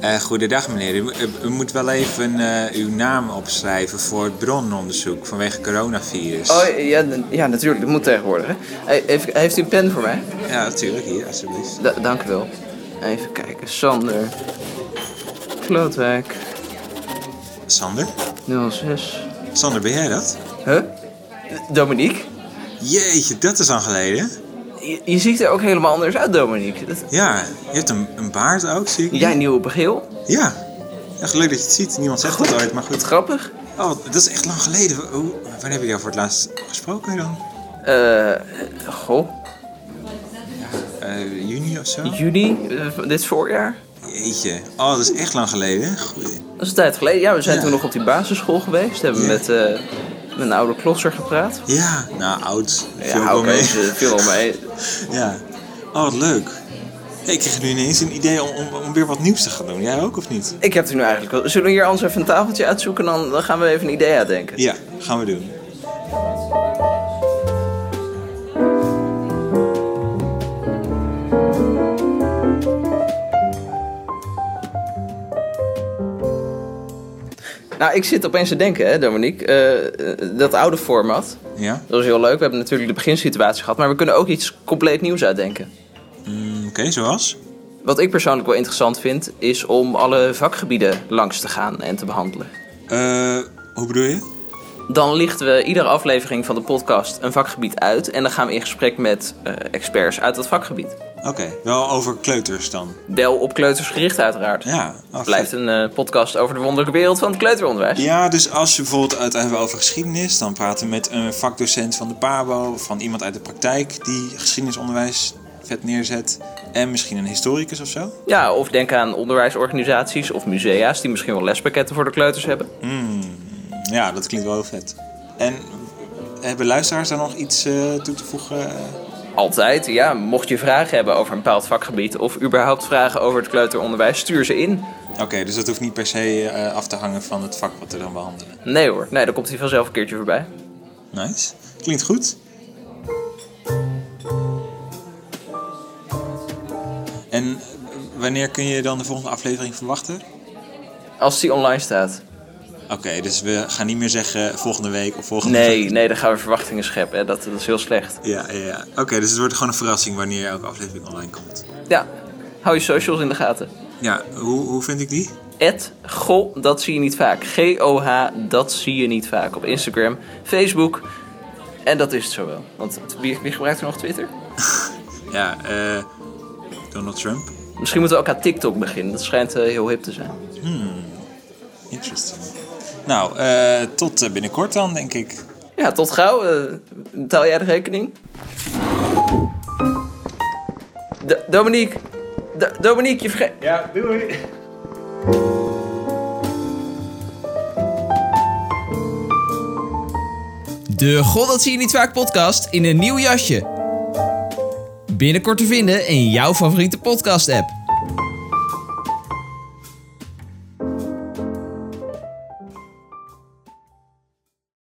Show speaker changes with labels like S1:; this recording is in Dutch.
S1: Eh, goedendag meneer, u, u- u moet wel even eh, uw naam opschrijven voor het brononderzoek vanwege coronavirus.
S2: Oh ja, n- ja natuurlijk, dat moet tegenwoordig. Hè? Hey, Even, heeft u een pen voor mij?
S1: Ja, natuurlijk, hier, alsjeblieft.
S2: Da- dank u wel. Even kijken. Sander. Klootwijk.
S1: Sander?
S2: 06.
S1: Sander, ben jij dat?
S2: Huh? Dominique?
S1: Jeetje, dat is lang geleden.
S2: Je, je ziet er ook helemaal anders uit, Dominique. Dat,
S1: Ja, je hebt een, een baard ook, zie ik.
S2: jij nieuw op geel?
S1: Ja. Echt leuk dat je het ziet. Niemand zegt dat ooit, maar
S2: Wat
S1: goed.
S2: grappig.
S1: Oh, dat is echt lang geleden. Hoe, wanneer heb ik jou voor het laatst gesproken dan?
S2: Eh, goh,
S1: Eh, juni of zo?
S2: juni, eh, van dit voorjaar?
S1: Jeetje. Oh, dat is echt lang geleden. Goed.
S2: Dat is een tijd geleden. Ja, we zijn
S1: Ja.
S2: toen nog op die basisschool geweest. Hebben we
S1: Ja.
S2: met, eh, met een oude klosser gepraat.
S1: Ja, nou, oud. Viel
S2: Ja,
S1: wel
S2: oké, dus, eh, viel al mee.
S1: Ja. Oh, wat leuk. Hey, ik kreeg nu ineens een idee om, om, om weer wat nieuws te gaan doen. Jij ook of niet?
S2: Ik heb het nu eigenlijk wel. Zullen we hier anders even een tafeltje uitzoeken? Dan, dan gaan we even een idee uitdenken.
S1: Ja, gaan we doen.
S2: Nou, ik zit opeens te denken, hè, Dominique. eh, eh, dat oude format,
S1: Ja?
S2: dat was heel leuk. We hebben natuurlijk de beginsituatie gehad. Maar we kunnen ook iets compleet nieuws uitdenken.
S1: Mm, Oké, zoals?
S2: Wat ik persoonlijk wel interessant vind, is om alle vakgebieden langs te gaan en te behandelen.
S1: Eh, hoe bedoel je?
S2: Dan lichten we iedere aflevering van de podcast een vakgebied uit. En dan gaan we in gesprek met eh, experts uit dat vakgebied.
S1: Oké, wel over kleuters dan.
S2: Wel op kleuters gericht, uiteraard.
S1: Ja, oh, vet.
S2: Het blijft een eh, podcast over de wonderlijke wereld van het kleuteronderwijs.
S1: Ja, dus als je bijvoorbeeld het hebben over geschiedenis, dan praten we met een vakdocent van de PABO, of van iemand uit de praktijk die geschiedenisonderwijs vet neerzet. En misschien een historicus of zo.
S2: Ja, of denk aan onderwijsorganisaties of musea's die misschien wel lespakketten voor de kleuters hebben.
S1: Ja, dat klinkt wel heel vet. En hebben luisteraars daar nog iets eh, toe te voegen?
S2: Altijd, ja. Mocht je vragen hebben over een bepaald vakgebied of überhaupt vragen over het kleuteronderwijs, stuur ze in.
S1: Oké, dus dat hoeft niet per se eh, af te hangen van het vak wat we dan behandelen.
S2: Nee hoor, nee, dan komt hij vanzelf een keertje voorbij.
S1: Nice. Klinkt goed. En eh, wanneer kun je dan de volgende aflevering verwachten?
S2: Als die online staat.
S1: Oké, dus we gaan niet meer zeggen volgende week of volgende
S2: Nee, nee, dan gaan we verwachtingen scheppen. Hè. Dat, dat is heel slecht.
S1: Ja, ja, ja. Oké, dus het wordt gewoon een verrassing wanneer elke aflevering online komt.
S2: Ja, hou je socials in de gaten.
S1: Ja, hoe, hoe vind ik die?
S2: Ed, go, dat zie je niet vaak. G-O-H, dat zie je niet vaak. Op Instagram, Facebook. En dat is het zo wel. Want wie, wie gebruikt er nog Twitter?
S1: Ja, eh Donald Trump.
S2: Misschien moeten we ook aan TikTok beginnen. Dat schijnt eh, heel hip te zijn.
S1: Interesting. Nou, eh, tot eh, binnenkort dan, denk ik.
S2: Ja, tot gauw. eh, betaal jij de rekening? D- Dominique. D- Dominique, je vergeet...
S3: Ja, doei.
S4: De God dat zie je niet vaak podcast in een nieuw jasje. Binnenkort te vinden in jouw favoriete podcast app.